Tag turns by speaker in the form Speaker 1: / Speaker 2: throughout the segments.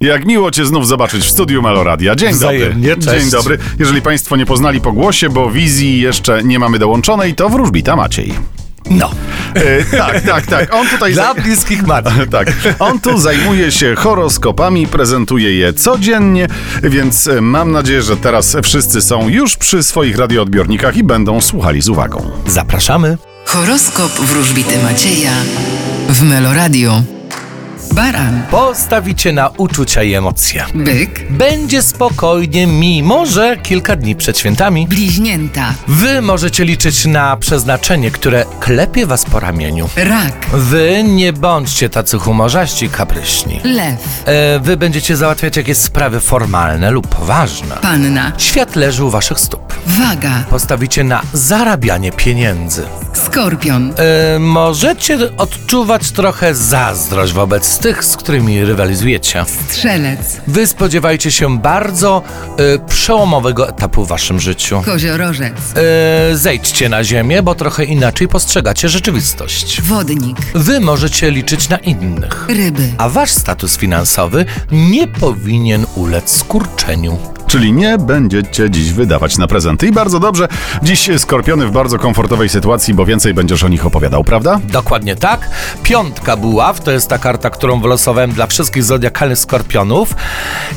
Speaker 1: Jak miło Cię znów zobaczyć w studiu Meloradia. Dzień
Speaker 2: Wzajemnie,
Speaker 1: dobry.
Speaker 2: cześć.
Speaker 1: Dzień dobry. Jeżeli Państwo nie poznali po głosie, bo wizji jeszcze nie mamy dołączonej, to wróżbita Maciej.
Speaker 2: No.
Speaker 1: E, tak, tak, tak. On tutaj...
Speaker 2: Dla bliskich matki.
Speaker 1: Tak. On tu zajmuje się horoskopami, prezentuje je codziennie, więc e, mam nadzieję, że teraz wszyscy są już przy swoich radioodbiornikach i będą słuchali z uwagą.
Speaker 2: Zapraszamy.
Speaker 3: Horoskop wróżbity Macieja w Meloradio. Baran,
Speaker 2: Postawicie na uczucia i emocje.
Speaker 3: byk,
Speaker 2: Będzie spokojnie, mimo że kilka dni przed świętami.
Speaker 3: bliźnięta,
Speaker 2: Wy możecie liczyć na przeznaczenie, które klepie was po ramieniu.
Speaker 3: rak,
Speaker 2: Wy nie bądźcie tacy humorzaści, kapryśni.
Speaker 3: lew,
Speaker 2: E, wy będziecie załatwiać jakieś sprawy formalne lub poważne.
Speaker 3: panna,
Speaker 2: Świat leży u waszych stóp.
Speaker 3: waga,
Speaker 2: Postawicie na zarabianie pieniędzy.
Speaker 3: skorpion,
Speaker 2: E, możecie odczuwać trochę zazdrość wobec tych, z którymi rywalizujecie.
Speaker 3: strzelec,
Speaker 2: Wy spodziewajcie się bardzo e, przełomowego etapu w waszym życiu.
Speaker 3: koziorożec,
Speaker 2: E, zejdźcie na ziemię, bo trochę inaczej postrzegacie rzeczywistość.
Speaker 3: wodnik,
Speaker 2: Wy możecie liczyć na innych.
Speaker 3: ryby,
Speaker 2: A wasz status finansowy nie powinien ulec skurczeniu.
Speaker 1: Czyli nie będziecie dziś wydawać na prezenty. I bardzo dobrze, dziś e, skorpiony w bardzo komfortowej sytuacji, bo więcej będziesz o nich opowiadał, prawda?
Speaker 2: Dokładnie tak. Piątka buław to jest ta karta, którą wylosowałem dla wszystkich zodiakalnych skorpionów.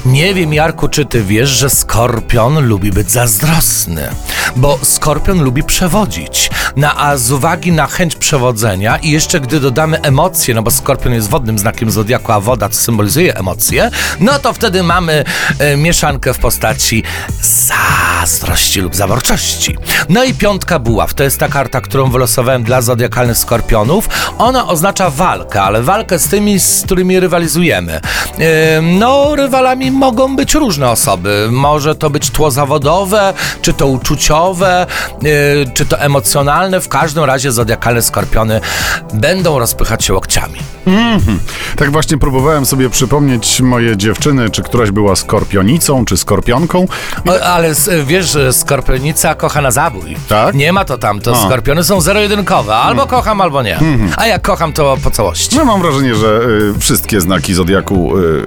Speaker 2: Nie wiem, Jarku, czy ty wiesz, że skorpion lubi być zazdrosny, bo skorpion lubi przewodzić. Na, a z uwagi na chęć przewodzenia i jeszcze gdy dodamy emocje, no bo skorpion jest wodnym znakiem zodiaku, a woda symbolizuje emocje, no to wtedy mamy e, mieszankę w postaci zazdrości lub zaborczości. No i piątka buław, to jest ta karta, którą wylosowałem dla zodiakalnych skorpionów. Ona oznacza walkę, ale walkę z tymi, z którymi rywalizujemy. E, No, rywalami mogą być różne osoby. Może to być tło zawodowe, czy to uczuciowe, e, czy to emocjonalne. W każdym razie zodiakalne skorpiony będą rozpychać się łokciami.
Speaker 1: Tak właśnie próbowałem sobie przypomnieć moje dziewczyny, czy któraś była skorpionicą, czy skorpionką.
Speaker 2: O, ale s- wiesz, że skorpionica kocha na zabój.
Speaker 1: Tak?
Speaker 2: Nie ma to tam, to
Speaker 1: A. Mm. Mm-hmm.
Speaker 2: skorpiony są zero-jedynkowe. Albo kocham, albo nie. A jak kocham, to po całości.
Speaker 1: No mam wrażenie, że y, wszystkie znaki Zodiaku y,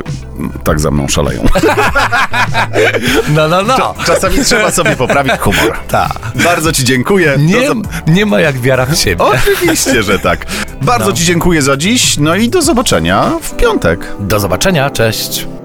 Speaker 1: tak za mną szaleją.
Speaker 2: No, no, no.
Speaker 1: Czasami trzeba sobie poprawić humor.
Speaker 2: Tak.
Speaker 1: Bardzo Ci dziękuję. Do
Speaker 2: Nie,
Speaker 1: zob-
Speaker 2: nie ma jak wiara w siebie.
Speaker 1: Oczywiście, że tak. Bardzo Ci dziękuję za dziś, no i do No zobaczenia w piątek.
Speaker 2: Do zobaczenia, cześć.